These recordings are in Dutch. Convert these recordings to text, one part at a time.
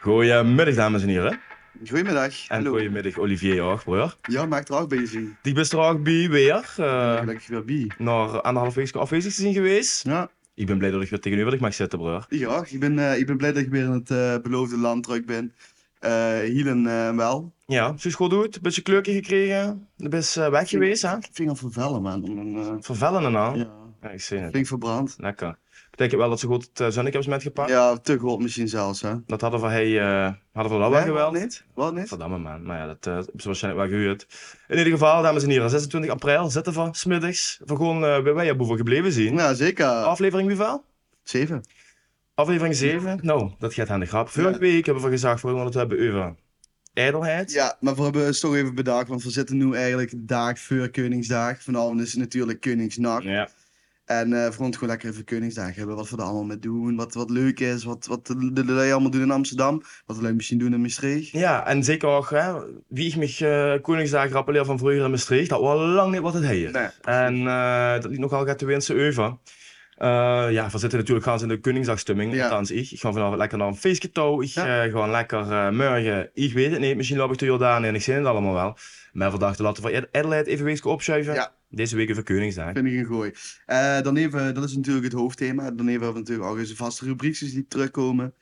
Goedemiddag, dames en heren. Goedemiddag. En Hallo. goedemiddag, Olivier Oogbroer. Ja, maakt er ook bezig. Die bent er ook bij weer. eh Gelukkig weer bij. naar anderhalf week afwezig te zijn geweest. Ja, Ik ben blij dat ik weer tegenover dich mag zitten, broer. ja ik, ben, eh, ik ben blij dat ik weer in het eh, beloofde land terug ben. Eh Hielen eh, wel. Ja, zo goed doet. Een beetje kleurtje gekregen. Je bent eh, weg geweest, hè? Ik vind al vervellen, man. Om een, eh, Vervellende naam. Ja. ja, ik zie het. flink verbrand. Lekker. Betekent wel dat ze goed het uh, hebben metgepakt. Ja, te goed misschien zelfs, hè. Dat hadden we, hey, eh, hadden we dat Nee, wel geweld. wat niet? Wat niet? Verdamme man, maar ja, dat eh, hebben ze waarschijnlijk wel gehuurd. In ieder geval, dames en heren, 26 april zitten we smiddags. We gewoon eh bij wij boeven gebleven zien. Nou, zeker. Aflevering wie wel? Zeven. Aflevering 7. Nou, dat gaat aan de grap. Vorige Ja. week hebben we gezegd voor wat we hebben over ijdelheid. Ja, maar we hebben ons toch even bedacht, want we zitten nu eigenlijk de dag voor Koningsdag. Vanavond is het natuurlijk Koningsnacht. Ja. En eh, voor ons gewoon lekker even Koningsdag hebben. Wat we er allemaal mee doen. Wat, wat leuk is. Wat, wat de, de, de lui allemaal doen in Amsterdam. Wat we misschien doen in Maastricht. Ja, en zeker ook, hè, wie ik me eh, Koningsdag rappeleer van vroeger in Maastricht, dat was lang niet wat het heet. Nee. En eh, dat liet nogal gaat de winsten over. Eh, ja, we zitten natuurlijk gaan in de Koningsdagstemming, Ja. althans ik. Ik ga vanavond lekker naar een feestje touw. Ik Ja. eh, ga lekker eh, morgen, ik weet het niet, misschien loop ik de Jordaan en ik zie het allemaal wel. Maar vandaag laten we voor ijdelheid even week opschuiven. Ja. Deze week over Koningsdag. Vind ik een gooi. Eh, dan even, dat is natuurlijk het hoofdthema. Dan even hebben we natuurlijk al onze vaste rubriekjes die terugkomen.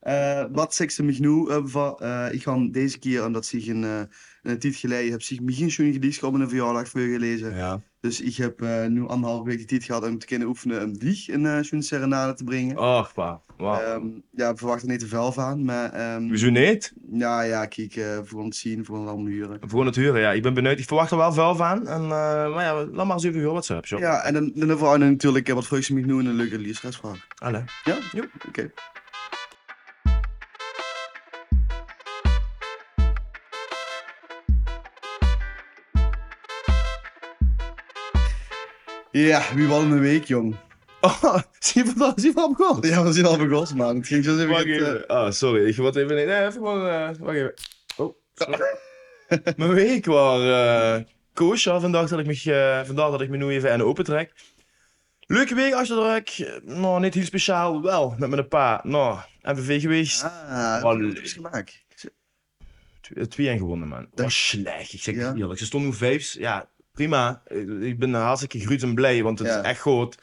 Eh, wat zegt mij nu? eh, van, eh, ik ga deze keer, omdat ik een, eh, een tijd geleden heb, zich misschien zo'n gedicht op een verjaardag voor gelezen. Ja. Dus ik heb eh, nu anderhalf week de tijd gehad om te kunnen oefenen om die in eh zo'n serenade te brengen. Och, pa. Wow. Ehm, ja, ik verwacht er niet te veel van, maar ehm, Hoezo niet? ja, ja, kijk, eh, voor ons zien, voor ons allemaal huren. Voor het huren, ja. Ik ben benieuwd. Ik verwacht er wel veel van. En, eh, maar ja, laat maar eens even horen wat ze hebben, joh. Ja, en dan, dan hebben we natuurlijk eh, wat vreugde mij nu en een leuke liefdesvraag. Allee. Ja? Jo. Oké. Ja, wie was een week, jong? Oh, zie je wat zie je wat begon? Ja, we zijn al begonnen, man. Het ging zo even... Wacht goed, eh, even. Ah, sorry. Ik word even... Nee, even gewoon... eh wacht even. Oh. sorry. Mijn week was eh kosher. Vandaag dat ik me, eh, vandaag dat ik me nu even aan de open trek. Leuke week als je druk. Nou, niet heel speciaal. Wel, met mijn pa. Nou, MVV geweest. Ah, Wat wat eh, leuk. is gemaakt. Tw- Twee en gewonnen, man. Dat Dat- was slecht. Ik zeg Ja. het eerlijk. Ze stonden nu vijfs. Ja, prima. Ik- Ik ben hartstikke gruut en blij, want het Ja. is echt goed.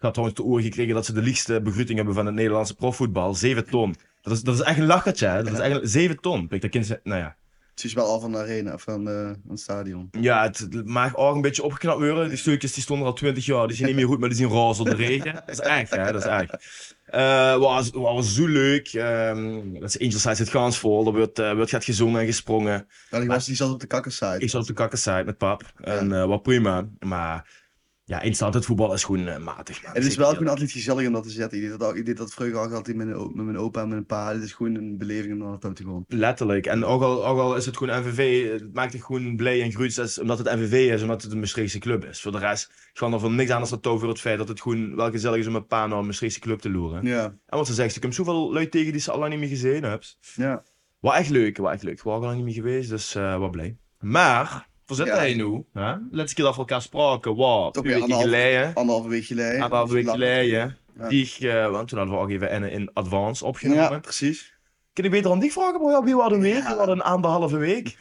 Ik had trouwens te oren gekregen dat ze de liefste begroeting hebben van het Nederlandse profvoetbal. Zeven ton. Dat is, dat is echt een lachertje, hè. Dat is Ja. echt een- zeven ton. Pik, dat kind ze- nou ja. Het is wel al van de arena, of van, eh, van het stadion. Ja, het- het mag ook een beetje opgeknapt worden. Die stukjes die stonden al twintig jaar. Die zijn niet meer goed, maar die zijn roze door de regen. Dat is echt, hè. Dat is echt. Eh was, was zo leuk. Ehm, dat is Angels Eyes het Gaans vol. Er wordt, eh, wordt gaat gezongen en gesprongen. Nou, die was die zat op de kakkersite. Ik zat op de kakkersite met pap. En eh wat prima. Maar ja, instant het voetbal is gewoon eh, matig. Man. Het is wel gewoon altijd gezellig om dat te zetten. Ik deed dat, al- ik deed dat vroeger ook altijd met mijn, o- met mijn opa en mijn pa. Het is gewoon een beleving om naar dat te gaan. Letterlijk. En ook al, ook al is het gewoon MVV, het maakt het gewoon blij en groeit. Dat is Omdat het MVV is, omdat het een Maastrichtse club is. Voor de rest gaan er van niks anders dan over het feit dat het gewoon wel gezellig is om een paar naar een Maastrichtse club te loeren. Ja, En wat ze zegt, ik heb zoveel lui tegen die ze al lang niet meer gezien hebt. ja. Wat echt leuk, wat echt leuk. Ik was ook al lang niet meer geweest, dus eh wat blij. Maar, voor zitten Ja. hij nu? Hè? Laatste keer dat we elkaar spraken, wat? Twee Toch weer weken anderhalf- geleden. Anderhalve week geleden. Anderhalve week geleden. Ja. Die, ik, eh, want toen hadden we ook even in, in advance opgenomen. Ja, precies. Kun je beter aan die vragen, maar ja, wie hadden weer? We hadden een anderhalve week.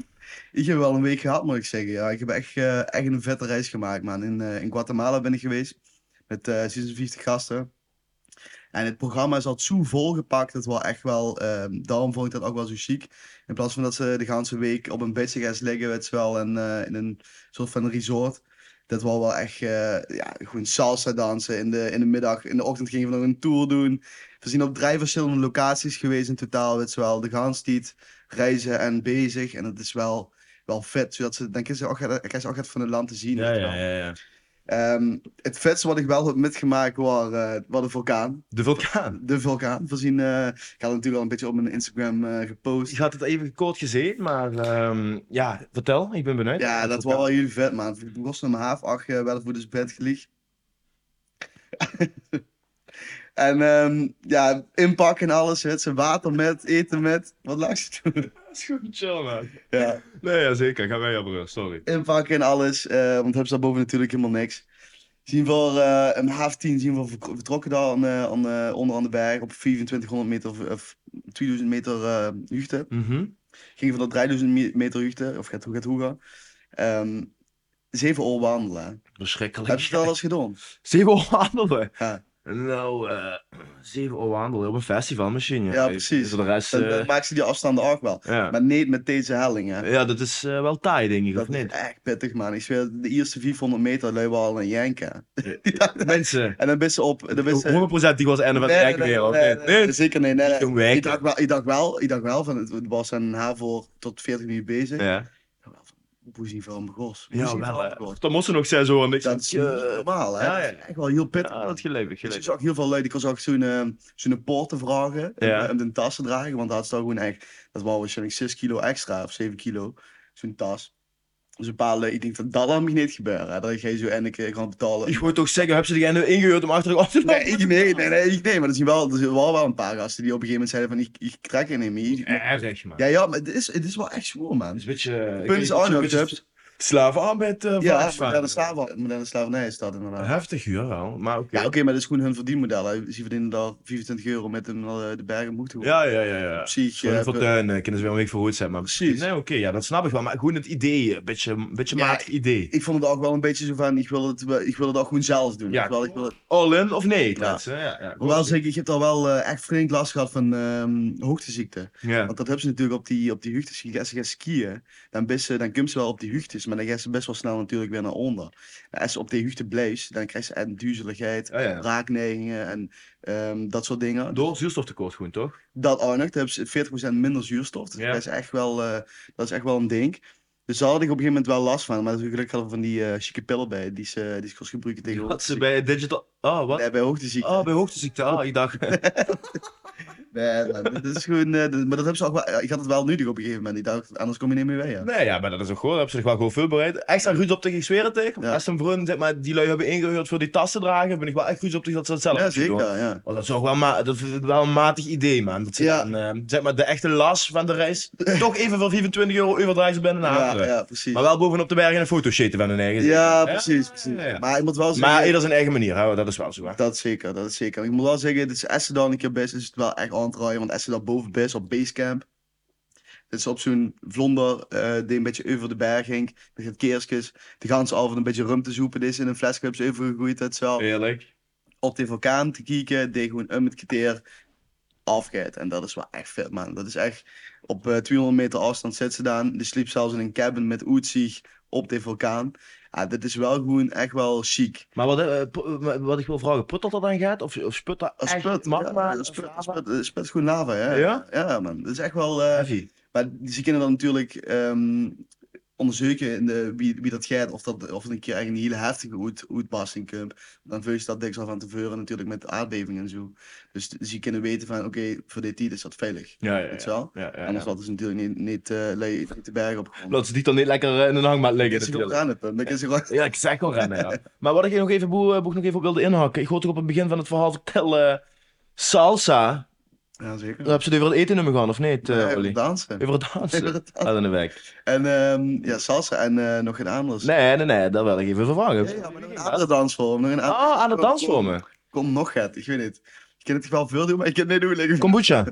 Ik heb wel een week gehad, moet ik zeggen. Ja, ik heb echt, eh, echt een vette reis gemaakt, man. In, eh, in Guatemala ben ik geweest met eh 56 gasten. En het programma is al zo volgepakt, dat wel echt wel, ehm, daarom vond ik dat ook wel zo chic. In plaats van dat ze de ganse week op een bedje gaan liggen, werd ze wel in, eh, in een soort van resort. Dat was wel echt, eh, ja, gewoon salsa dansen in de, in de middag. In de ochtend gingen we nog een tour doen. We zijn op drie verschillende locaties geweest in totaal, weet je wel. De ganstiet, reizen en bezig. En dat is wel, wel vet, zodat ze, dan krijg je ook, krijg je ook echt van het land te zien. weet je wel. ja. Ehm, het vetste wat ik wel heb metgemaakt was, eh was de vulkaan. De vulkaan. De vulkaan. We zien, eh, ik had het natuurlijk al een beetje op mijn Instagram eh, gepost. Ik Dus had het even kort gezien, maar ehm, ja, vertel, ik ben benieuwd. Ja, dat was wel jullie vet, man. Ik was om half acht eh, wel voor dus bed gelegen. en ehm, ja, inpakken en alles. Het zijn water met, eten met. Wat lag ze doen? Dat is goed, chill man. ja, Nee, ja, zeker. Ga wij, ja, broer, sorry. inpakken en alles. eh, want hebben ze daarboven natuurlijk helemaal niks. Zien we voor eh, om half tien zien we vertro- vertrokken daar aan, eh, aan, eh, onder aan de berg op 2400 meter of, of 2000 meter eh hoogte. Mhm. Ging van dat 3000 me- meter hoogte, of gaat hoe gaat hoe gaan, ehm, zeven uur wandelen. Heb Verschrikkelijk. je het al eens gedaan? Zeven uur wandelen. Ja. Nou, eh zeven uur wandelen op een festival misschien. Ja, precies. Voor de rest... Dan, eh, dan maakt ze die afstanden ook wel. ja. Maar niet met deze hellingen. ja, dat is eh, wel taai, denk ik, of Dat is niet? echt pittig, man. Ik zweer, de eerste 400 meter lui we al een janken. Mensen, En dan ben ze op. Dan ben ze... 100% die was einde van het Nee, rek nee, weer, of nee, niet? nee, Nee, Zeker niet. Nee, nee. Jong werk. Ik dacht wel, ik dacht wel, ik dacht wel van het was een voor tot 40 minuten bezig. Ja. Ja, Boezie van mijn gos. ja Boezie wel. eh, van mijn gos. Dan moesten nog zes uur en niks. Dat is niet normaal, eh, hè? ja, ja. Dat is echt wel heel pittig. Ja, ah, dat geleefd, Dus ik geleefd. zag heel veel lui, die kon ook zo'n eh, zo'n poorten vragen en Ja. en de tas te dragen. Want dat had ze dan gewoon echt, dat was waarschijnlijk 6 kilo extra of 7 kilo, zo'n tas. Dus een paar lui, ik denk dat dat dan mag niet gebeuren. Hè? Dat je zo en ik eh, kan betalen. Ik wou toch zeggen, heb ze diegene ingehuurd om achter de af te Nee, lopen? ik, nee, nee, nee, ik- nee, maar er zijn wel, er zijn wel, wel een paar gasten die op een gegeven moment zeiden van ik, ik trek er niet meer. Ik- Erg, man. Ja, ja, maar het is, het is wel echt zwoer, Dat man. is een beetje... eh, Het punt is ook nog, Jobs. Slavenarbeid, eh, Ja, vaak van. moderne slaven- moderne slavernij is dat inderdaad. Heftig, ja wel, maar oké. Ja, oké, maar dat is gewoon hun verdienmodel. Hè. Ze verdienen daar 25 euro met hem naar de bergen moeten gaan. Ja, ja, ja. ja. Op zich, Gewoon eh, een fortuin, eh, kunnen ze weer een week vooruit zijn. Maar Precies. Nee, oké, ja, dat snap ik wel. Maar gewoon het idee, eh, een beetje, een beetje Ja, matig idee. ik vond het ook wel een beetje zo van, ik wil het, wel- ik wil het ook gewoon zelf doen. Ja. Terwijl ik wil het- All in of nee, Ja. mensen, hè? ja. ja, Hoewel zeker, ik heb daar wel eh, echt flink last gehad van ehm, hoogteziekte. Ja. Want dat hebben ze natuurlijk op die, op die hoogtes. Als ze gaan skiën, dan, best, ze- dan komt ze wel op die hoogtes, maar dan gaan ze best wel snel natuurlijk weer naar onder. En als ze op die hoogte blijft, dan krijgt ze en duizeligheid, Ah, ja. raakneigingen en ehm, dat soort dingen. Door zuurstoftekort gewoon, toch? Dat ook nog. Dan hebben ze 40% minder zuurstof. Dus Ja. dat, is echt wel, eh, dat is echt wel een ding. Dus daar had ik op een gegeven moment wel last van. Maar gelukkig hadden we van die eh chique pillen bij. Die ze, die ze kost gebruiken tegen Wat ze hoogteziekte. bij digital... Oh, wat? Nee, bij hoogteziekte. Oh, bij hoogteziekte. Ah, ik dacht... Nee, man, dat is gewoon... eh, dat- maar dat hebben ze ook wel... ja, Ik had het wel nodig op een gegeven moment. Ik dacht, anders kom je niet meer weg. Ja. Nee, ja, maar dat is ook gewoon. Daar hebben ze zich wel gewoon veel bereid. Echt aan ruzie op tegen, ik zweer het tegen. Ja. Als een vriend, zeg maar, die lui hebben ingehuurd voor die tas te dragen, ben ik wel echt ruzie op tegen dat ze dat zelf ja, moeten doen. zeker. Ja. Want dat is ook wel, ma- dat is wel een matig idee, man. Dat ze Ja. dan, eh, zeg maar, de echte last van de reis toch even voor 25 euro overdragen ze binnen naar Ja, Haren. ja, precies. Maar wel bovenop de bergen een foto shiten van hun eigen. Ja, Ja, precies. precies. ja, ja. Maar ik moet wel zeggen... Maar ieder zijn eigen manier, hè? dat is wel zo. Hè? Dat zeker, dat is zeker. Ik moet wel zeggen, dit is Essendon een keer best, dus is het wel echt aan het draaien. Want Essendon boven best op Basecamp. Dit is op zo'n vlonder eh, die een beetje over de berg ging. Er gaat keerskes. De ganse avond een beetje rum te zoepen. Dit is in een flesje hebben ze overgegroeid. Dat zo. Eerlijk. Op de vulkaan te kijken. Die gewoon om het kwartier afgaat. En dat is wel echt vet, man. Dat is echt... Op eh, 200 meter afstand zit ze dan. Die sliep zelfs in een cabin met Oetsie op de vulkaan. Ja, dit is wel gewoon echt wel chic. Maar wat, eh, po- eh, wat ik wil vragen, put dat er dan gaat? Of, of sput dat Als echt sput, magma? ja, sput, sput, sput is gewoon lava, ja. Ja? Ja, man. Dat is echt wel... eh, Heavy. maar ze kunnen dan natuurlijk ehm, onderzoeken in de, wie, wie dat gaat. Of, dat, of het een keer echt een hele heftige oet- oetbarsting komt. Dan vul je dat diks al van tevoren natuurlijk met aardbevingen en zo. Dus ze kunnen weten van, oké, voor dit tijd is dat veilig. Ja, ja, Weet je ja. wel? ja, ja, Anders ja. hadden ze natuurlijk niet, niet, eh, lui- niet de berg opgekomen. Dat ze die dan niet lekker eh, in een hangmat liggen Dat is gewoon natuurlijk. aan het punt. Dat is gewoon... Ja, ik zeg al rennen, ja. Maar wat ik nog even, boe, boe, nog even op wilde inhakken. Ik hoorde toch op het begin van het verhaal vertellen... eh, Salsa. Ja, zeker. Dan hebben ze het over het eten nummer gaan, of niet, eh, Ja, Olly? dansen. Over het dansen. Uit in de weg. En ehm, ja, salsa en eh, nog een anders. Nee, nee, nee, daar wil ik even vervangen. Ja, ja, maar nog een andere dansvorm. Nog een andere... Ah, aan het dansvormen. Kom nog het, ik weet het. Ik ken het wel veel doen, maar ik ken het niet doen. Kombucha.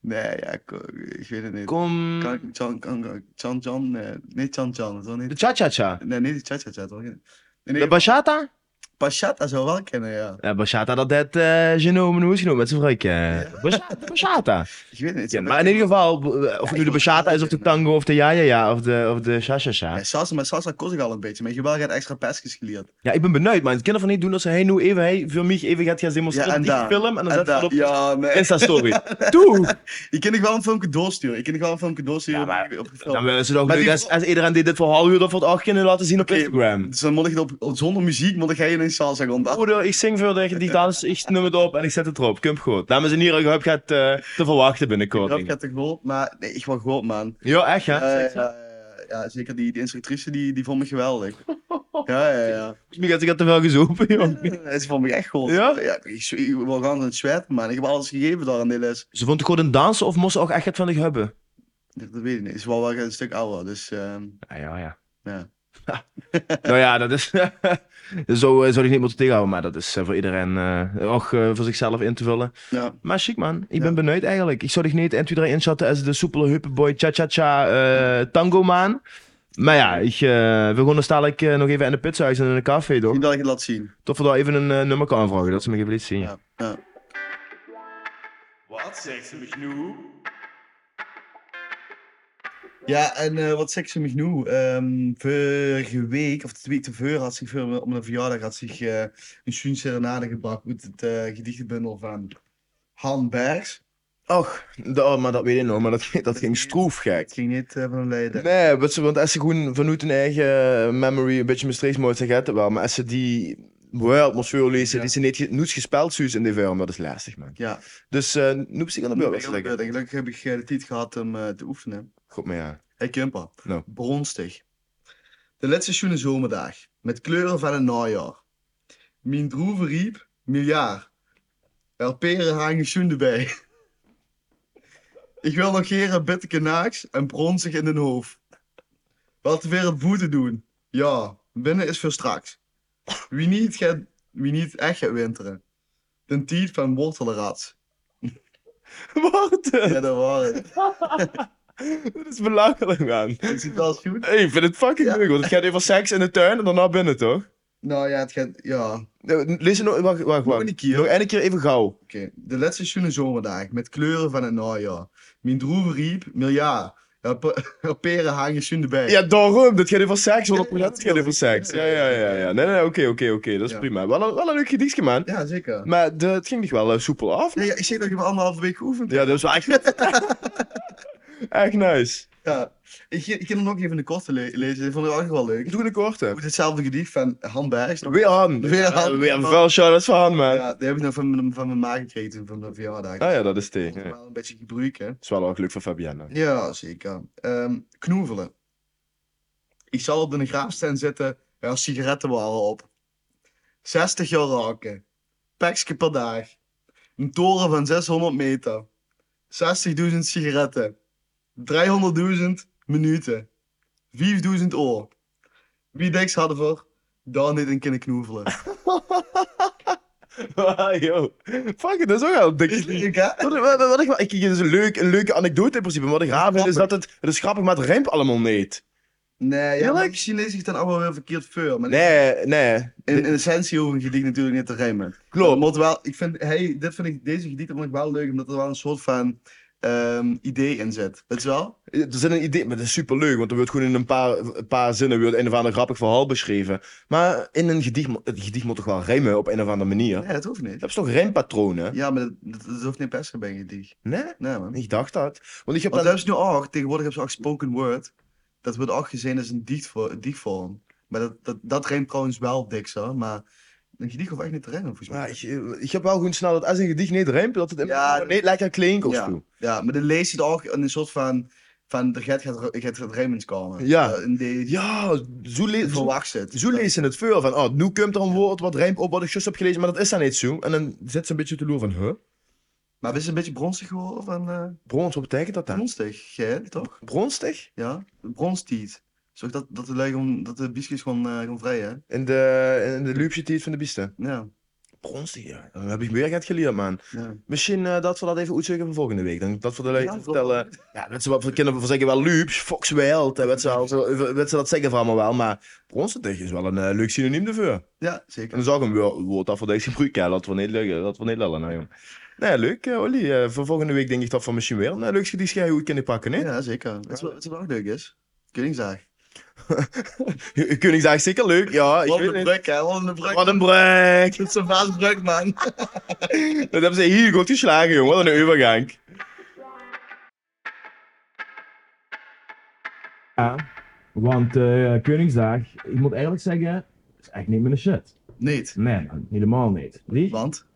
Nee, ja, ik, ik weet het niet. Kom... Kan ik- eh, Chan Chan Chan Chan, nee, niet Chan Chan, dat is wel De niet. cha-cha-cha. Nee, niet die cha cha toch? Nee, De nee, bachata? Pachata zou wel kennen, ja. Ja, bachata, dat deed eh Genoom en Hoesgenoom met zijn vrouwtje. Bachata, bachata. Ik weet het niet. Ja, maar in ieder geval, eh, of het ik nu de wil- bachata is, of de tango, of de ja-ja-ja, of de, of de cha-cha-cha. Ja, salsa, maar salsa kost ik al een beetje, maar je hebt wel gaat extra pesjes geleerd. Ja, ik ben benieuwd, maar het kan ervan niet doen dat hij nu even, hij voor mij even gaat gaan demonstreren. Ja, en die daar. film en dan zet En hij daar- op ja, nee. Insta-story. Doe! Ik kan ik wel een filmpje doorsturen. Ik kan ik wel een filmpje doorsturen. Ja, maar op- op gefilmd. Dan willen ze toch Maar leuk die- als, als iedereen die dit verhaal huurt, dat voor het acht kunnen laten zien op Oké. Instagram. Dus dan moet ik het op, op- zonder muziek, moet ik geen in salsa gaan dansen. Broeder, ik zing voor de digitales, ik noem het op en ik zet het erop. Kump goed. Dames en heren, ik hoop gaat eh, te verwachten binnenkort. Dat denk ik. gaat te goed, maar nee, ik word goed, man. Ja, echt Ja, hè? ja, ja, ja, zeker die, die instructrice die, die vond me geweldig. Ja, ja, ja. Misschien gaat ik te veel gezopen, jong. ja ze vond me echt goed. Ja? ik, zwe- ik wil gaan aan het zweten, man. Ik heb alles gegeven daar aan die les. Ze vond het goed een dansen of moest ze ook echt het van zich hebben? Dat, dat weet ik niet. Ze was wel een stuk ouder, dus ehm, Ah, Ja, ja, ja. ja. nou ja, dat is. zo eh, zou ik niet moeten tegenhouden, maar dat is eh, voor iedereen. eh ook eh, voor zichzelf in te vullen. Ja. Maar chic man, ik Ja. ben benieuwd eigenlijk. Ik zou dich niet entweder inschatten als de soepele huppenboy cha-cha-cha eh, tango man. Maar ja, ik, eh, we gaan dus dadelijk eh, nog even in de pizzahuis en in een café toch? Niet dat ik het laat zien. Tot we daar even een eh, nummer kan aanvragen, dat ze me even liet zien. Ja. ja. Wat zegt ze me nu? Ja, en eh, wat zegt ze me nu? Ehm, vorige week, of de week tevoren, had zich voor, om mijn verjaardag had zich, eh, een schoen serenade gebracht uit het eh, gedichtenbundel van Han Bergs. Och, da- maar dat weet ik nog, maar dat, dat ging stroef gek. Het ging niet eh, van een leider. Nee, want ze- want als ze gewoon vanuit hun eigen eh, memory een beetje mistreeks moet zeggen, het wel. Maar als ze die world moet voorlezen, Ja. die ze niet ge- niet gespeld zoals in die film, dat is lastig man. Ja, Dus eh noem ze aan de beurt, ik was heb- lekker. gelukkig heb ik eh, de tijd gehad om eh, te oefenen. Goed, maar ja. Hey Kumpa, Nou. bronstig. De laatste schoenen zomerdag, met kleuren van het najaar. Mijn droeve riep, miljard. Er peren hangen schoenen bij. Ik wil nog heren bitteke naaks en bronzig in den hoofd. Wat weer het boete doen. Ja, binnen is voor straks. Wie niet, gaat, wie niet echt gaat winteren. Den tijd van wortelrad. Wat? Ja, dat was het. Dat is belachelijk, man. Is het wel goed? Hey, ik vind het fucking Ja. leuk, want het gaat even seks in de tuin en daarna binnen, toch? Nou ja, het gaat, ja, Eh, Lees het nog, wacht, wacht, Nog wacht. een keer. Nog één keer even gauw. Oké, de laatste schoenen zomerdag met kleuren van het najaar. Mijn droeve riep, miljard. Er pe- er peren hangen schoenen bij. Ja, daarom. Dit gaat over seks, 100% Ja, het gaat over seks. Ja, ja, ja. ja. Nee, nee, nee, oké, oké, oké. Dat is Ja. prima. Wel een, wel een leuk gedichtje, man. Ja, zeker. Maar de, het ging toch wel eh, soepel af? Nee, ja, ik zeg dat ik heb anderhalve week geoefend. Ja, dat is wel echt... echt nice. Ja. Ik, ga- ik ga hem nog even de korte le- lezen, dat vond ik ook wel leuk. Doe een korte. Goed, Hetzelfde gedicht van Han Bergs. nog- Weer aan. Weer aan. Eh, Weer een vuil shout-outs van Han, man. Ja, die heb ik nog van, mijn- van mijn ma gekregen toen van mijn verjaardag. Ah ja, dat is Dat tegen. is Ja. wel een beetje gebruiken. is wel ook leuk voor Fabienne. Ja, zeker. Ehm knoevelen. Ik zal op de graafstand zitten er sigaretten waren op. 60 jaar raken. Pekske per dag. Een toren van 600 meter. 60.000 sigaretten. 300.000 minuten. 5.000 oor. Wie niks hadden voor, dan niet een kunnen knoevelen. Wow, yo. Fuck it, dat is ook wel een dikke Is gedicht. leuk, hè? Wat, wat, wat, ik- ik, het is een, leuk, een leuke anekdote in principe. Maar wat ik raar vind is dat het, het is grappig, maar het rijmt allemaal niet. Nee, ja, maar Eerlijk? misschien lees ik dan allemaal weer verkeerd veel. Maar Nee, nee. in, in essentie hoef een gedicht natuurlijk niet te rijmen. Klopt. Omdat wel, ik vind, hey, dit vind ik, deze gedichten vond ik wel leuk, omdat er wel een soort van ehm, idee in zit. Weet je wel? Er zit een idee, maar dat is superleuk, want er wordt gewoon in een paar, een paar zinnen wordt een of ander grappig verhaal beschreven. Maar in een gedicht, mo- het gedicht moet toch wel rijmen op een of andere manier? Nee, dat hoeft niet. Dat is toch rijmpatronen? Ja, maar dat, dat, dat hoeft niet per se bij een gedicht. Nee? Nee, man. Ik dacht dat. Want ik heb Want dan... dat is nu ook, tegenwoordig hebben ze ook spoken word. Dat wordt ook gezien als een dichtvo- een dichtvorm. Maar dat, dat, dat rijmt trouwens wel dik zo, maar een gedicht hoeft echt niet te rijmen volgens Maar mij. ik, ik heb wel gewoon snel dat als een gedicht niet rijmt, dat het Ja, niet lekker klinkt of zo. Ja, maar dan lees je het ook in een soort van, van er gaat, gaat, gaat, gaat rijmens komen. Ja. Eh, in die, Ja, zo, le- zo, verwacht het. zo lezen het veel van, oh, nu komt er een woord wat rijmt op wat ik juist heb gelezen, maar dat is dan niet zo. En dan zit ze een beetje te loeren van, huh? Maar is het een beetje bronstig geworden van... eh, Brons, wat betekent dat dan? Bronstig, jij toch? Bronstig? Ja, bronstiet. Zorg dat, dat de lui gewoon, dat de biesjes gewoon, eh, gewoon vrij, hè? In de, in de loopje die het van de biesten. Ja, Bronstig, ja. Dat heb ik weer net geleerd, man. ja. Misschien eh, dat we dat even uitzoeken voor volgende week. Dan, dat we de lui Ja, vertellen. Ja, dat ze wat voor kinderen voor zeggen wel loops, Fox Wild. En wat ze, al zo- wat ze dat zeggen van allemaal wel. Maar bronstig is wel een eh, leuk synoniem ervoor. Ja, En zeker. dan zag ik hem weer, wordt dat voor deze gebruik, ja, laten we niet lullen, laten we niet lullen, nou jong. Nee, leuk, eh, Olly. eh, voor volgende week denk ik dat van misschien weer een eh, leuk gedicht ga je goed kunnen pakken, hè? Ja, zeker. Weet je wat- weet je wat ook leuk is? Koningsdag. Ja. Koningsdag is zeker leuk, ja. Ik Wat weet een niet. brek, hè? Wat een brek. Wat een break! Dat is een vaas brek, man. Dat hebben ze hier goed geslagen, jongen. Wat een overgang. Ja, want eh, Koningsdag, ik moet eigenlijk zeggen, is echt niet mijn shit. Niet. Nee, helemaal niet. Want?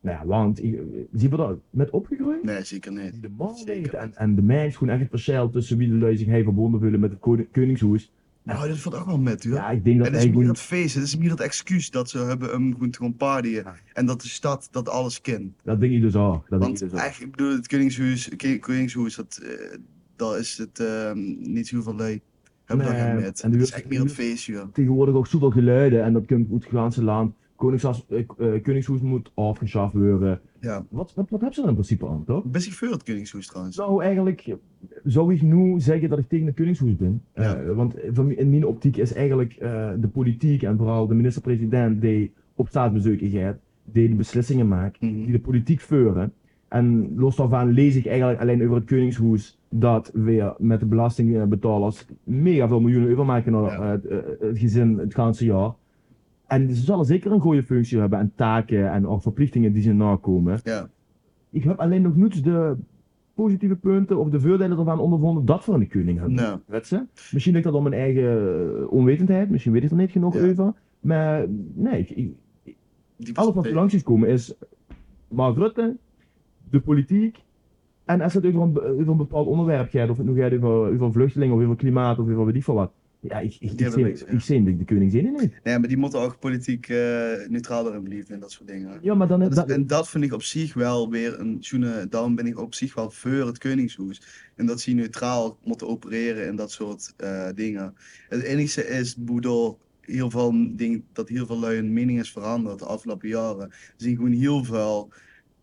Nou, want, zie je dat met opgegroeid? Nee, zeker niet. De man Zeker. weet en, en de mens gewoon echt het verschil tussen wie de lui zich heeft verbonden voelen met het koning- koningshoes. Nou, dat valt ook wel met, hoor. Ja, ik denk dat Het is hij meer gewoon... het feest, het is meer het excuus dat ze hebben om gewoon te gaan partyen. Ja. En dat de stad dat alles kent. Dat denk ik dus ook. Dat denk ik Want dus ook. echt, ik bedoel, het Koningshuis, Ki- Koningshuis dat, eh, dat is het ehm, niet zo van lui. Huppeldag Nee, en met. en die- Het is echt meer een feestje. joh. tegenwoordig ook zoveel geluiden en dat komt uit het ganse land. Koningshuis, eh, eh, Koningshuis moet afgeschaft worden. Ja. Wat, wat, wat hebben ze er in principe aan, toch? Best ik veel het Koningshoes trouwens. Zou eigenlijk, zou ik nu zeggen dat ik tegen het Koningshuis ben? Eh, Ja. want van, in mijn optiek is eigenlijk eh, de politiek en vooral de minister-president die op staatsbezoek gaat, die de beslissingen maakt, Mhm. die de politiek voeren. En los daarvan lees ik eigenlijk alleen over het Koningshuis dat weer met de belastingbetalers mega veel miljoenen euro maken naar Ja. eh, het, eh, het gezin het ganse jaar. En ze zullen zeker een goede functie hebben en taken en ook verplichtingen die ze nakomen. Ja. Ik heb alleen nog niet de positieve punten of de voordelen ervan ondervonden dat we een koning hebben. Nou, Weet ze? Misschien ligt dat om mijn eigen eh, onwetendheid, misschien weet ik er niet genoeg Ja. over. Maar nee, ik- ik, die eh, alles wat er langs is komen is Mark Rutte, de politiek. En als het over een, be- over een bepaald onderwerp gaat, of het nu gaat over, over vluchtelingen, of over klimaat, of over weet ik veel wat. Ja, ik, ik, ik, hebben zie- niks, ja. ik zie de, de koningin niet. Nee, maar die moeten ook politiek eh, neutraal erin blijven en dat soort dingen. Ja, maar dan... Dat is- dan- Dus en dat vind ik op zich wel weer een tune. Daarom ben ik op zich wel voor het Koningshoes. En dat ze neutraal moeten opereren en dat soort eh, dingen. Het enige is, boedo, heel veel dingen, dat heel veel lui hun mening is veranderd de afgelopen jaren. We zien gewoon heel veel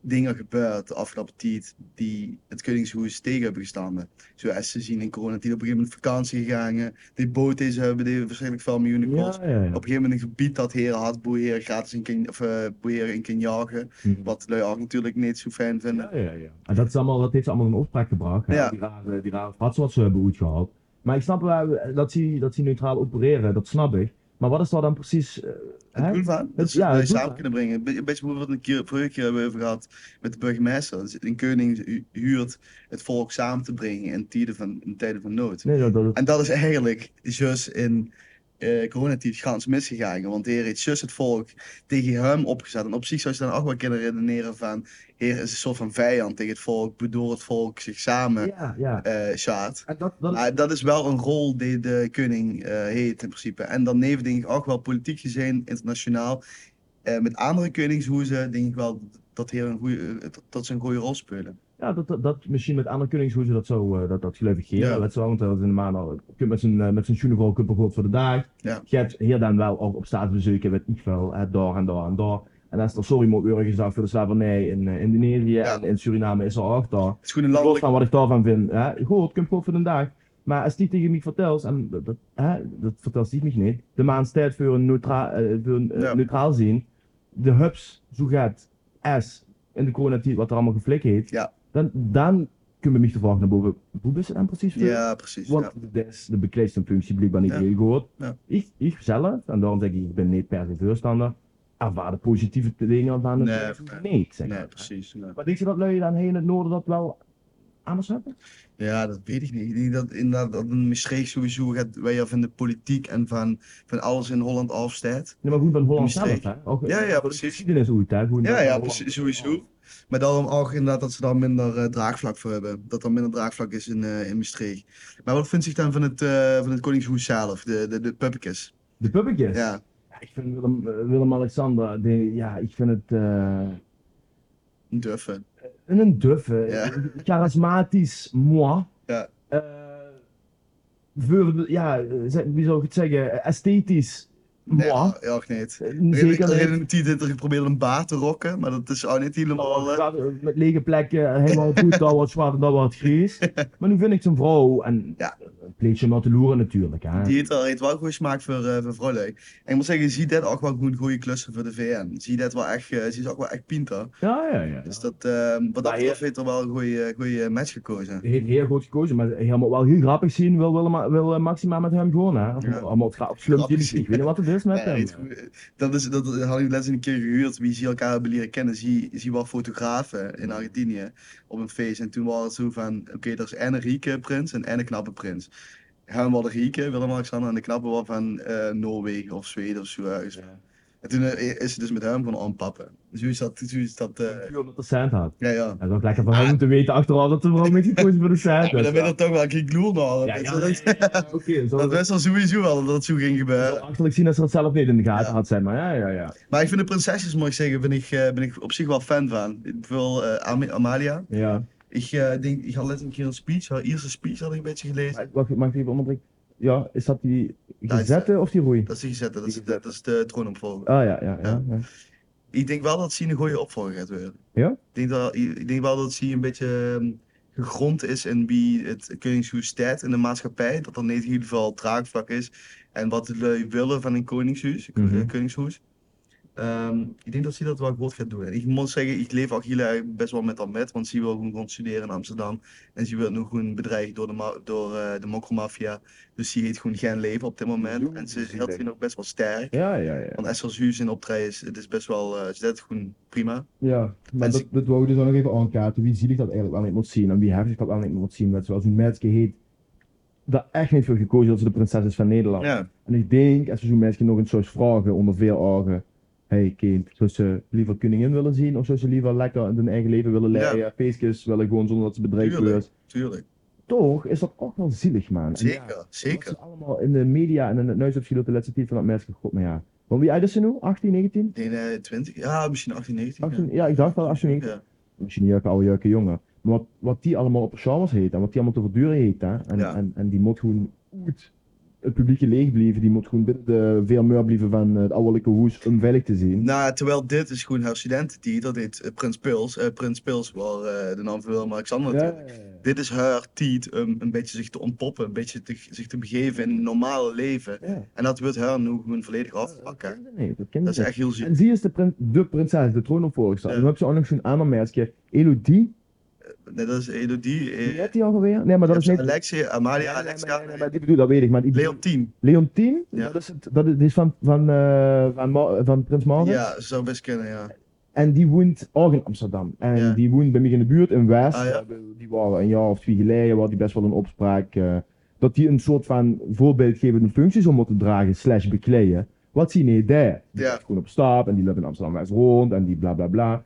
dingen gebeurd de afgelopen tijd die het Koningshoes tegen hebben gestaan. Zoals ze zien in coronatijd op een gegeven moment op vakantie gegaan. Die bootjes hebben die waarschijnlijk veel miljoenen kost. ja, ja, ja. Op een gegeven moment een gebied dat heren had, boeren gratis in kan, of, eh, boeren in kan jagen. Hm. Wat lui ook natuurlijk niet zo fijn vinden. Ja, ja, ja. En dat, is allemaal, dat heeft ze allemaal een opspraak gebracht. hè. Ja. Die rare, die rare fratsen wat ze hebben uitgehaald. Maar ik snap wel eh, dat ze, dat ze neutraal opereren, dat snap ik. Maar wat is daar dan precies... eh, hè? Het doel van, dat ze ja, lui het doel samen van. kunnen brengen. Een beetje- Een beetje hoe we het een keer, vorige keer hebben we over gehad met de burgemeester. Dus in Keuning hu- huurt het volk samen te brengen in tijden van, in tijden van nood. Nee, dat, dat, En dat is eigenlijk juist in eh coronatijd gans misgegaan. Want de heer heeft juist het volk tegen hem opgezet. En op zich zou je dan ook wel kunnen redeneren van... Heer is een soort van vijand tegen het volk, waardoor het volk zich samen ja, ja. eh schaadt. En dat, dat, Maar Ah, dat is wel een rol die de koning eh heeft in principe. En dan heeft denk ik ook wel politiek gezien, internationaal, eh, met andere koningshoezen, denk ik wel dat, heel een goeie, eh, dat- dat ze een goede rol spelen. Ja, dat, dat, dat misschien met andere kunnings hoe ze dat zo, eh, dat, dat gelukkig geven. Ja. Dat zo, want eh, dat is in de maand al, je kunt met zijn, eh, met zijn journal kunt bijvoorbeeld voor de dag. Ja. Je hebt hier dan wel ook op staatsbezoeken, weet ik veel, hè, daar en daar en daar. En als er sorry moet euro gezag voor de slavernij in eh, Indonesië Ja. en in Suriname is er ook daar. Het is gewoon een Los landelijk... van wat ik daarvan vind, hè. Goh, het komt goed voor de dag. Maar als die tegen mij vertelt, en dat, dat, hè, dat vertelt die mij niet, de maand tijd voor een, neutra eh, voor een eh, Ja. neutraal zien, de hubs, zo gaat S, in de coronatijd, wat er allemaal geflikt heeft, Ja. dan, dan kunnen we mij de vraag naar boven, hoe is het dan precies voor? Ja, precies. Want Ja. dat is de bekleedste functie blijkbaar niet Ja. heel goed. Ja. Ik, ik zelf, en daarom zeg ik, ik ben niet per se voorstander, ervaar de positieve dingen van Nee, het nee, zeg Nee, maar. precies. ja. Maar denk je dat lui dan hier in het noorden dat wel anders hebben? Ja, dat weet ik niet. Ik denk dat inderdaad dat een misreek sowieso gaat wij van de politiek en van, van alles in Holland afstaat. Nee, maar goed, van Holland Omstreken. zelf, hè? Ook, eh, Ja, ja, ook de precies. Geschiedenis hoe het, hè? Gewoon Ja, dat- ja, dat- precies, sowieso. Maar daarom ook inderdaad dat ze daar minder eh, draagvlak voor hebben. Dat er minder draagvlak is in, eh in Maastricht. Maar wat vindt zich dan van het, eh, van het Koningshoes zelf, de, de, de puppetjes? De puppetjes. Ja. Ja, Ik vind Willem- eh, Willem-Alexander, die- ja, ik vind het eh, een duffe. een duffe, eh, Ja. charismatisch, moi. Ja. Eh, voor de- ja, eh, ze- wie zou ik het zeggen? Eh, Esthetisch, moi. Nee, ja, ook niet. Eh, Ik Zeker heb niet. in het er geprobeerd een baard te rokken, maar dat is ook niet helemaal... eh, Oh, Ja, Met lege plekken, helemaal goed, daar wat zwart en daar wat grijs. Maar nu vind ik zijn vrouw, en Ja. een pleetje maar te loeren natuurlijk. Hè. Die heeft wel, heeft wel goede smaak voor, eh voor vrouwlui. En ik moet zeggen, je ziet dat ook wel een goede klussen voor de VN. Zie dat wel echt, eh, ze is ook wel echt pinter. Ja, ja, ja. Dus dat, eh, wat dat Maar betreft heeft er wel een goede, goede match gekozen. Hij heeft heel goed gekozen, maar hij moet wel heel grappig zien. Wil, wil, wil eh, Maxima met hem gewoon, hè? Of Ja. allemaal het gaat slum Grappig jullie zien. Ik weet niet wat het is met Ja, hem. weet je, dat, is, dat had ik laatst een keer gehuurd. Wie ze elkaar hebben leren kennen, zie, zie wel fotografen in Argentinië op een feest. En toen was het zo van: oké, er is en een rieke prins en en een knappe prins. Hem wel de rieke, Willem-Alexander, en de knappe wel van eh, Noorwegen of Zweden of zo. ergens. En toen eh, is ze dus met hem gewoon aanpappen. Zo is dat. Zo is dat eh, Puur omdat de cent had. ja, ja. Dat is ook lekker van hem te weten achteraf dat de vrouw niet gekozen voor de cent. Maar is. dan ben je er toch wel geen gloel naar. Ja, ja, dat, nee, ja, ja, oké. Zo dat dat wist al sowieso wel dat het zo ging gebeuren. achterlijk zien als ze dat zelf niet in de gaten Ja. had, zeg maar. Ja, ja, ja. Maar ik vind de prinsesjes, moet ik zeggen, ben ik, eh, ben ik op zich wel fan van. Ik wil eh, Am- Amalia. ja. Ik eh, denk, ik had net een keer een speech, haar eerste speech had ik een beetje gelezen. Maar, wacht, mag ik even onderbreken? ja, is dat die is- gezette of die roei? Dat is die gezette, dat is, dat is de troonopvolger. Ah ja, ja, ja. ja. Ik denk wel dat Sien een goede opvolger gaat worden. Ja? Ik denk, dat, ik denk wel dat Sien een beetje ehm, gegrond is in wie het koningshuis staat in de maatschappij. Dat er in ieder geval draagvlak is. En wat de lui willen van een koningshuis. Mhm. eh, koningshuis. Ehm, ik denk dat Sien dat wel goed gaat doen. En ik moet zeggen, ik leef Achille best wel met dat met. Want Sien wil gewoon gaan studeren in Amsterdam. En ze wordt nu gewoon bedreigd door de, ma- door, eh, de mokkelmafia. Dus die heeft gewoon geen leven op dit moment. Joe, En ze is zielig. heel vind ik ook best wel sterk. Ja, ja, ja. Want SL's huis in optredens, het is best wel, eh ze deed het gewoon prima. Ja, maar Mensen- dat, dat wou ik dus ook nog even aankaarten. Wie zielig dat eigenlijk wel niet moet zien en wie heftig dat wel niet moet zien. Met zoals die meisje heet, daar echt niet voor gekozen dat ze de prinses is van Nederland. Ja, En ik denk, als we zo'n meisje nog eens zou vragen onder veel ogen. hey kind, zou ze liever koningin willen zien of zou ze liever lekker hun eigen leven willen Ja. leiden? Feestjes willen gewoon zonder dat ze bedreigd Tuurlijk. wordt. tuurlijk. Toch is dat ook wel zielig, man. En Zeker, ja, zeker. Dat is allemaal in de media en in het nieuwsopschild de laatste tijd van dat meisje. God, maar ja. Want wie oud is ze nu? 18, 19? Nee, nee, 20, ja, misschien 18, 19. 18, ja. ja, ik dacht wel 18, 19. Ja. misschien niet elke oude jeuke jongen. Maar wat, wat die allemaal op genres heet en wat die allemaal te verduren heet. Hè? En, Ja. en, en die moet gewoon uit het publiekje leeg blijven. Die moet gewoon binnen de veel muur blijven van eh, het ouderlijke hoes om veilig te zien. Nou, terwijl dit is gewoon haar studententier, dat heet eh, Prins Pils. Eh, Prins Pils wel eh, de naam van Willem-Alexander ja, natuurlijk. Dit is haar tiet om een beetje zich te ontpoppen, een beetje te, zich te begeven in het normale leven. ja. En dat wordt haar nu gewoon volledig afpakken. Nee, dat ken Dat is ik niet. echt heel ziek. En zie is de, prin- de prinses, de troonopvolgster. Ja. En dan heb ze ook nog zo'n ander meisje. Elodie, Nee, dat is Elodie, die eh, heet die alweer? Nee, maar dat is niet... Alexia, Nee, Amalia, nee, Alexia, nee, nee, maar die bedoel, dat weet ik. Maar die- Leontien. Leontien, Ja. dat, is het, dat is, die is van, van, eh, van, Ma- van Prins Maurits. Ja, zou best kunnen, ja. En die woont ook in Amsterdam. En Ja. die woont bij mij in de buurt in West. Ah, ja. Eh, Die waren een jaar of twee geleden, waar die best wel een opspraak. eh, dat die een soort van voorbeeldgevende functies om moeten dragen, slash bekleden. Wat zie je daar? Die Ja. gaat gewoon op stap en die loopt in Amsterdam West rond en die bla bla bla.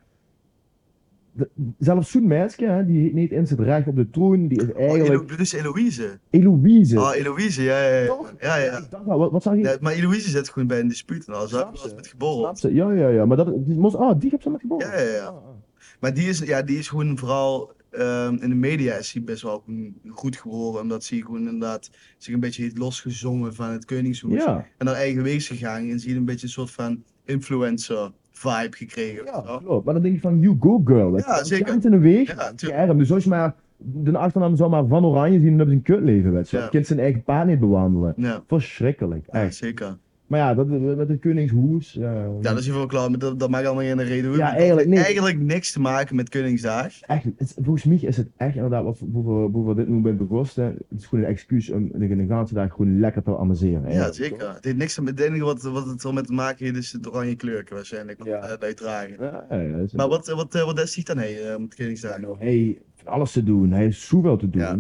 De- zelfs zo'n meisje, hè, die heeft niet eens het recht op de troon, die is Oh, eigenlijk Elo- dit is Eloïse. Eloïse. Ah, Eloïse, ja, ja, ja. Toch? Ja, ja. Ik dacht wel, wat, wat zag je? Nee, maar Eloïse zit gewoon bij een dispuut en alles. hè? Snap Dat ze. was met geborrel. Snap ze? Ja, ja, ja. Maar dat, die, moest, ah, die heb ze met geboren. Ja, ja, ja. Ah, ah. Maar die is, ja, die is gewoon vooral ehm, in de media is die best wel gewoon goed gehoord. Omdat ze gewoon inderdaad zich een beetje heeft losgezongen van het Koningshoes. Ja, En haar eigen wees gegaan. En ze heeft een beetje een soort van influencer vibe gekregen. Ja, Ja, klopt. Maar dan denk je van, you go girl. Dat Ja, is zeker. giant in een weeg. Ja, tuurlijk. Ja, dus als je maar, de achternaam zou maar van Oranje zien, dan heb je een kutleven, weet je. Ja. Je kunt zijn eigen paard niet bewandelen. ja, Verschrikkelijk, ja, echt. zeker. Maar ja, dat, met het Koningshoes. eh, Ja, dat is hiervoor klaar. Maar dat, dat maakt allemaal geen reden. hoe. Ja, Dat eigenlijk heeft niet. Eigenlijk niks te maken met Koningsdag. echt, het is- volgens mij is het echt inderdaad, wat, hoe, we- hoe we dit nu bij begosten, het is gewoon een excuus om de de ganse dag gewoon lekker te amuseren. Ja, zeker. Het heeft niks met het enige wat, wat het wel met te maken heeft, is het oranje kleurken waarschijnlijk. Wat Ja. eh, dat je dragen. Ja, ja, dat is- Maar wat, eh, wat, eh, wat is hij dan heen eh, moet ik eerlijk Ja, zeggen? nou, hij heeft alles te doen, hij heeft zoveel te doen. Ja.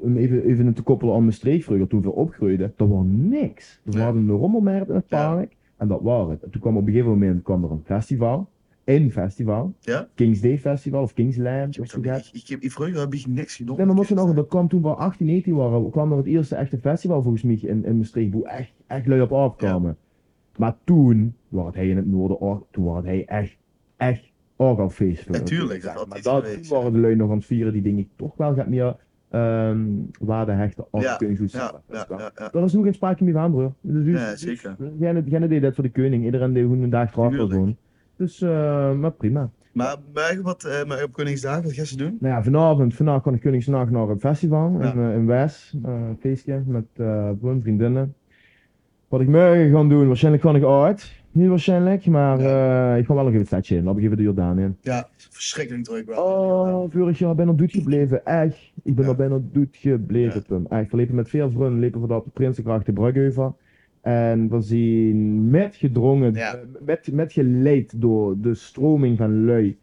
Om even, even te koppelen aan mijn streekvreugde, toen we opgroeiden, dat was niks. Er Nee. waren een rommelmarkt in het Ja. park en dat was het. En toen kwam op een gegeven moment kwam er een festival, één festival, Ja. Kings Day Festival of Kings Land, of Ik, zo dat. ik, ik, heb- ik, vroeger heb ik niks gedaan. Nee, maar moet je nou nog, dat kwam toen we 18, 19 waren, kwam er het eerste echte festival volgens mij in, in Maastricht, hoe echt, echt lui op afkwamen. Maar toen, was hij in het noorden, ook- toen was hij echt, echt ook al feest. voor het Natuurlijk, dat zeg had maar iets dat, geweest, toen waren de lui nog aan het vieren die dingen toch wel gaat meer ehm waarde hechten als Ja, koningshoed. Ja, ja, ja, ja. Dat is nog geen sprake meer van, broer. Dus, Ja, zeker. Jij deed dat voor de koning. Iedereen deed hoe een dag graag wil Tuurlijk. doen. Dus, eh, maar prima. Maar, maar wat, eh, maar op Koningsdag, wat gaan ze doen? Nou ja, vanavond, vanavond kon ik Koningsnacht naar een festival Ja. in, eh, in Wes. eh, Een feestje met eh broer en vriendinnen. Wat ik morgen ga doen, waarschijnlijk kan ik uit. Niet waarschijnlijk, maar eh, ik ga wel nog even het setje in. Laat ik even de Jordaan in. Ja, verschrikkelijk druk wel. Oh, vorig jaar ben ik doet gebleven, echt. Ik ben Ja. er bijna doet gebleven, Ja. Pum. Echt, we liepen met veel vrienden, liepen we daar op de Prinsengracht in Bruggeuven. En we zien met gedrongen, Ja. eh, met, met geleid door de stroming van lui.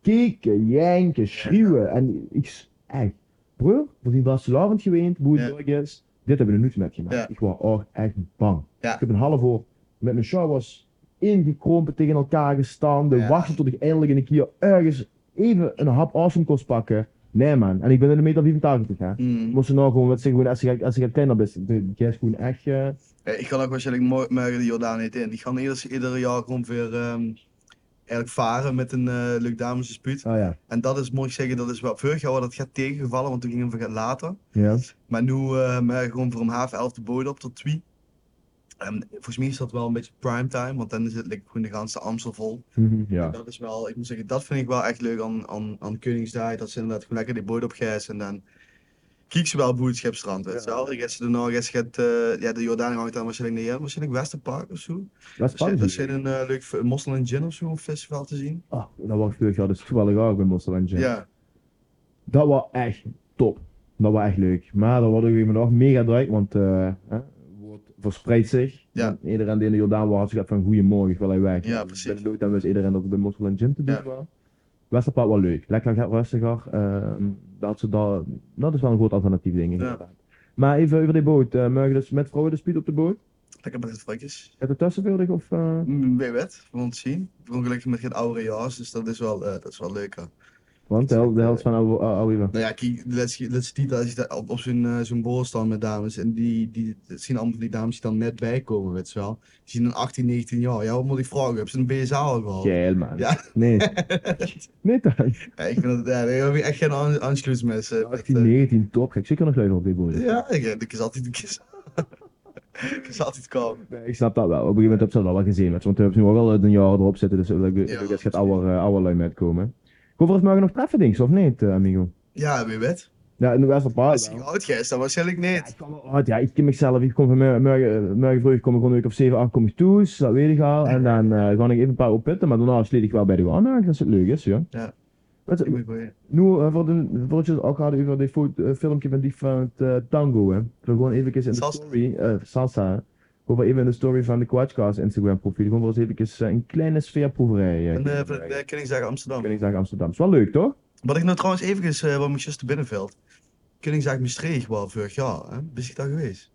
Keken, janken, schreeuwen. En ik, s- echt, broer, we zien vastelavond geweend, boerderij is. Dit hebben we er niets met gemaakt. Ja. Ik was ook echt bang. Ja. Ik heb een half uur met mijn showers ingekrompen tegen elkaar gestaan. De Ja. wachten tot ik eindelijk een keer ergens even een hap awesome kost pakken. Nee man, en ik ben in de meter 85 hè. Ik Hmm. moest er nou gewoon wat zeggen, gewoon, als je gaat- als je gaat kleiner bent, jij is gewoon echt... eh, Eh, ik kan ook waarschijnlijk mo- morgen de Jordaan niet in. Ik ga eerst ieder jaar ongeveer ehm eigenlijk varen met een eh, leuk damesdispuut. Oh ja. En dat is, moet ik zeggen, dat is wel vorig jaar wel dat gaat tegengevallen, want toen gingen we later. Ja. Maar nu eh, maar gewoon voor om half elf de boot op tot twee. En volgens mij is dat wel een beetje primetime, want dan is het like, gewoon de ganse Amstel vol. Mhm, En ja. Dat is wel, ik moet zeggen, dat vind ik wel echt leuk aan, aan, aan Koningsdag. Dat ze inderdaad gewoon lekker die boot opgijs en dan kiek ze wel boodschapstrand. Weet je Ja. wel, dan gaat ze daarna, gaat ze het, eh, ja, de Jordaan hangt dan waarschijnlijk niet in, waarschijnlijk Westerpark of zo. Dat is Er zit- er spannend. zit een eh, leuk v- Mossel en Gin of zo, een festival te zien. Ah, dat was vorig jaar dus geweldig ook bij Monster Ranch. Ja, Dat was echt top. Dat was echt leuk. Maar dat wordt ook iemand nog mega druk, want eh, hè, woord verspreidt zich. Ja. En Iedereen die in de Jordaan was, had zich van goeiemorgen, ik wil hij weg. Ja, En precies. Bij de dood wist iedereen dat het bij Mossel en Gym te doen Ja. was. Westerpark wel leuk. Lekker lekker rustiger. ehm, dat, ze daar- dat is wel een goed alternatief, denk ik. Ja. inderdaad. Maar even over die boot. eh mogen dus met vrouwen de speed op de boot? lekker met het vlekjes. Is het tussenvuldig of... eh? Bij wet, we gaan het zien. We gaan gelukkig met geen oude jaars, dus dat is wel, eh, dat is wel leuker. Want de hel- de helft van Ouwe- eh, Ouwe Ivo. Nou ja, kijk, let's, let's Tita is daar op, op zijn, eh, zijn bol staan met dames. En die, die dat zien allemaal van die dames die dan net bijkomen, weet je wel. Die zien een 18, 19 jaar. Ja, wat moet ik vragen? Heb ze een BSA al gehad? Geil, man. Ja. Nee. nee, toch? Ja, ik vind dat, ja, daar heb je echt geen aan- anschluis met ze. 18, 19, top. Ga ik zeker nog luiden op dit boot. Ja, ik, eh, ik is altijd ik is, ik is altijd kalm. Nee, ik snap dat wel. Op een gegeven moment heb ze dat wel gezien. met- Want we hebben nu ook al een jaar erop zitten, dus dat Ja, dat gaat oude, eh, oude lui met komen. Hoeveel is morgen nog treffen, dings, of niet, eh, amigo? Ja, wie weet. Ja, in de Westerpaar. Als ik oud ga, is dat waarschijnlijk Ja, niet. ik kan wel uit. Ja, ik ken mezelf. Ik kom van morgen, morgen, morgen vroeg kom ik gewoon een uur of 7, 8 kom ik toe, dus dat weet ik al. En dan eh ga ik even een paar opputten, maar daarna sluit ik wel bij de aanhaak, als het leuk is, ja. Ja. Wat, Ik moet gewoon- nu, eh, voor de, voordat je het ook hadden over die foto, eh, filmpje van die van het eh, tango, hè. We gewoon even in de Salsa. story, eh, salsa, hè. Gewoon even in de story van de Quadcast Instagram profiel. Gewoon voor eens even eh, een kleine sfeerproeverij. En eh, eh, kunnen van brengen. de Koningsdag Amsterdam. Koningsdag Amsterdam. Is wel leuk, toch? Wat ik nou trouwens even, eh wat moet je te binnenveld? Koningsdag Maastricht, wel vorig jaar. Hè? Ben je daar geweest?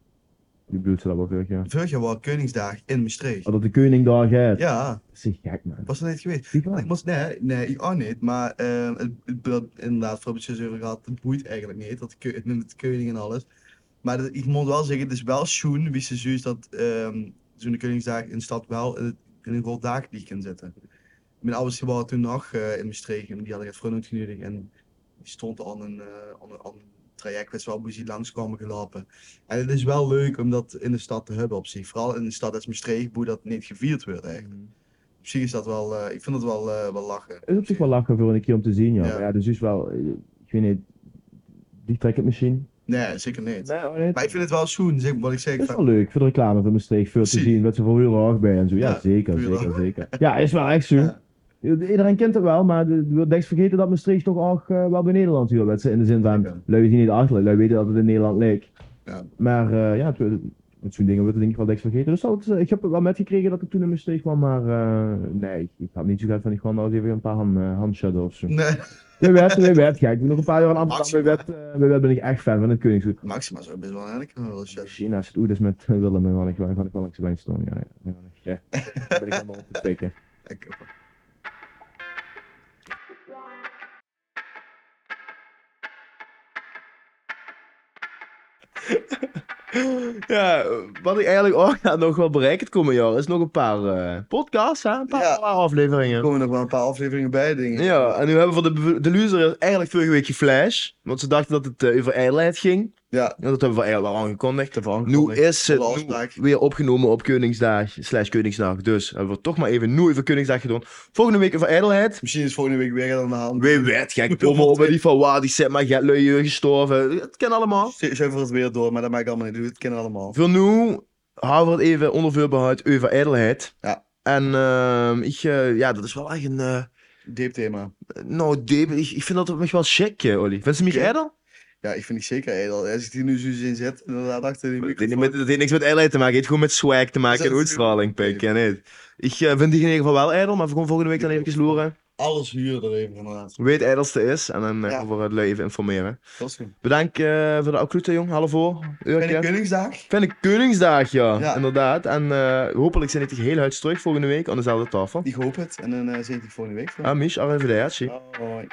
Die bedoelt ze dat wel leuk, ja. Vorig jaar was Koningsdag in Maastricht. Oh, dat de koning daar gaat. Ja, Dat is echt gek, man. was er niet geweest. Zie je wel? Ik moest, nee, nee, ik ook niet. Maar ehm het, het, dat- inderdaad, voor het over gehad, het boeit eigenlijk niet. Dat keu- met de koning en alles. Maar dat- ik moet wel zeggen, het is wel schoen, wie ze zuus dat ehm zo'n koningsdag in de stad wel in, het- in een groot dag die kan zitten. Mijn ouders die waren toen nog eh, in Maastricht en die hadden het vrolijk genodigd. En die stond aan een, eh, aan een, aan een traject, wist wel, hoe ze langs kwamen gelopen. En het is wel leuk om dat in de stad te hebben op zich. Vooral in de stad als Maastricht, hoe dat niet gevierd wordt eigenlijk. Op zich is dat wel, eh, ik vind het wel, eh, wel lachen. Het is op zich wel lachen voor een keer om te zien, ja. Ja. Maar Ja, dus is wel, eh, ik weet niet, die trekt het misschien. Nee, zeker niet. Nee, hoor, niet. Maar ik vind het wel schoen, zeg, wat ik zeg. Dat is van- wel leuk voor de reclame van Maastricht, veel te Precies. zien, wat ze voor heel erg bij en zo. Ja, Ja, zeker, heel zeker, erg. zeker. Ja, is wel echt zo. Ja. Iedereen kent het wel, maar de- de- denk vergeten dat Maastricht toch ook eh, wel bij Nederland heel wedstrijd in de zin van, Zeker. lui zien niet achterlijk, lui weten dat het in Nederland leek. Ja. Maar eh, ja, het- met zo'n dingen wordt denk ik wel denk vergeten. Dus dat, eh, ik heb het wel metgekregen dat het toen in Maastricht kwam, maar eh, nee, ik, ik had niet zo gehad van ik gewoon nou eens even een paar hand, eh, handschudden of zo. Nee, Bij wet, bij wet, ja, ik ben nog een paar jaar in Amsterdam, Maximaal. bij wet, eh, bij wet ben ik echt fan van het Koningshoed. Maxima zou best wel eigenlijk wel eens eh, zeggen. China zit oeders met Willem en Wannik, waar ik wel langs de lijn stond. Ja, ja, ja. Dan ben ik helemaal op te pikken. Ik- Ja, Eh, wat ik eigenlijk ook nou, nog wel bereikt het komende jaar is nog een paar eh, podcasts, hè? een paar, Ja. paar afleveringen. Er komen nog wel een paar afleveringen bij, dingen. Ja, en nu hebben we voor de, be- de loser eigenlijk vorige week geflash. Want ze dachten dat het eh, over ijdelheid ging. Ja, Ja, dat hebben we eigenlijk wel aangekondigd. Nu aangekondigd. is het Volle nu afspraak. weer opgenomen op Koningsdag, slash Koningsdag. Dus hebben we het toch maar even nu over Koningsdag gedaan. Volgende week over ijdelheid. misschien is volgende week weer aan de hand. Wie weet, gek, kom op met die van waar, die zet maar getlui gestorven. Het kan allemaal. Schuif voor het weer door, maar dat maakt allemaal niet uit. Het kennen allemaal. Voor nu houden we het even onder voorbehoud over ijdelheid. Ja. En ehm, ik, eh, ja, dat is wel echt een, eh, Deep thema. nou, Dave, ik, ik vind dat op mij wel chic, eh, Olly. Vind je mij Ja. ijdel? Ja, ik vind die zeker edel. Als ik die nu zo in zet, inderdaad achter die Dat heeft, microfoon. niet met- dat heeft niks met ijdelheid te maken, het heeft gewoon met swag te maken Is dat en zo? uitstraling, pik. Ja, nee. Ik eh, vind die in ieder geval wel ijdel, maar we gaan volgende week dan even loeren. Alles huur er even, inderdaad. Weet ijdelste is en dan eh, Ja. gaan we het lui even informeren. Dat is goed. Bedankt eh, voor de accruta, jong. Half voor. Ben ik Koningsdag? Vind ik Koningsdag, ja. Ja. Inderdaad. En eh, hopelijk zijn het heel huid terug volgende week aan dezelfde tafel. Ah, Ik hoop het. En dan eh zit ik volgende week. Amish, arrivederci. Hoi.